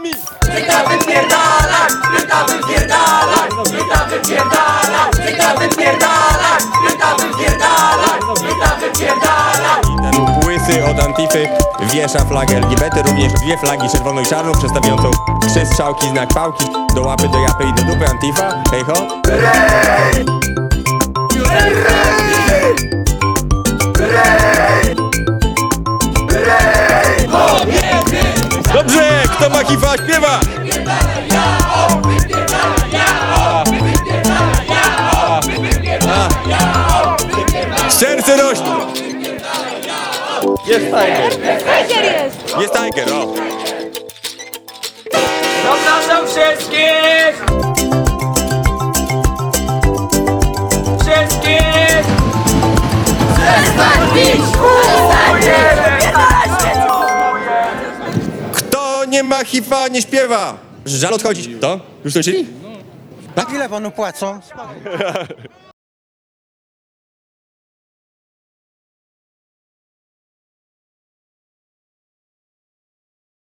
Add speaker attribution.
Speaker 1: Zyka wypierdalaj, zyka wypierdalaj, zyka wypierdalaj, zyka wypierdalaj, zyka wypierdalaj, zyka wypierdalaj.
Speaker 2: Ten Łysy od Antify wiesza flagę LGBT Również dwie flagi, czerwoną i czarną Przedstawiającą trzy strzałki, znak pałki Do łapy, do japy i do dupy Antifa, hej ho Dobrze, kto ma kifa, śpiewa! Serce rośnie! Jest Tiger!
Speaker 3: Tiger jest!
Speaker 2: Jest Tiger, o!
Speaker 4: Zapraszam wszystkich! Wszystkich!
Speaker 2: Kto nie ma hifa, nie śpiewa! Żal odchodzić. To? Już leci?
Speaker 5: Ile panu płacą?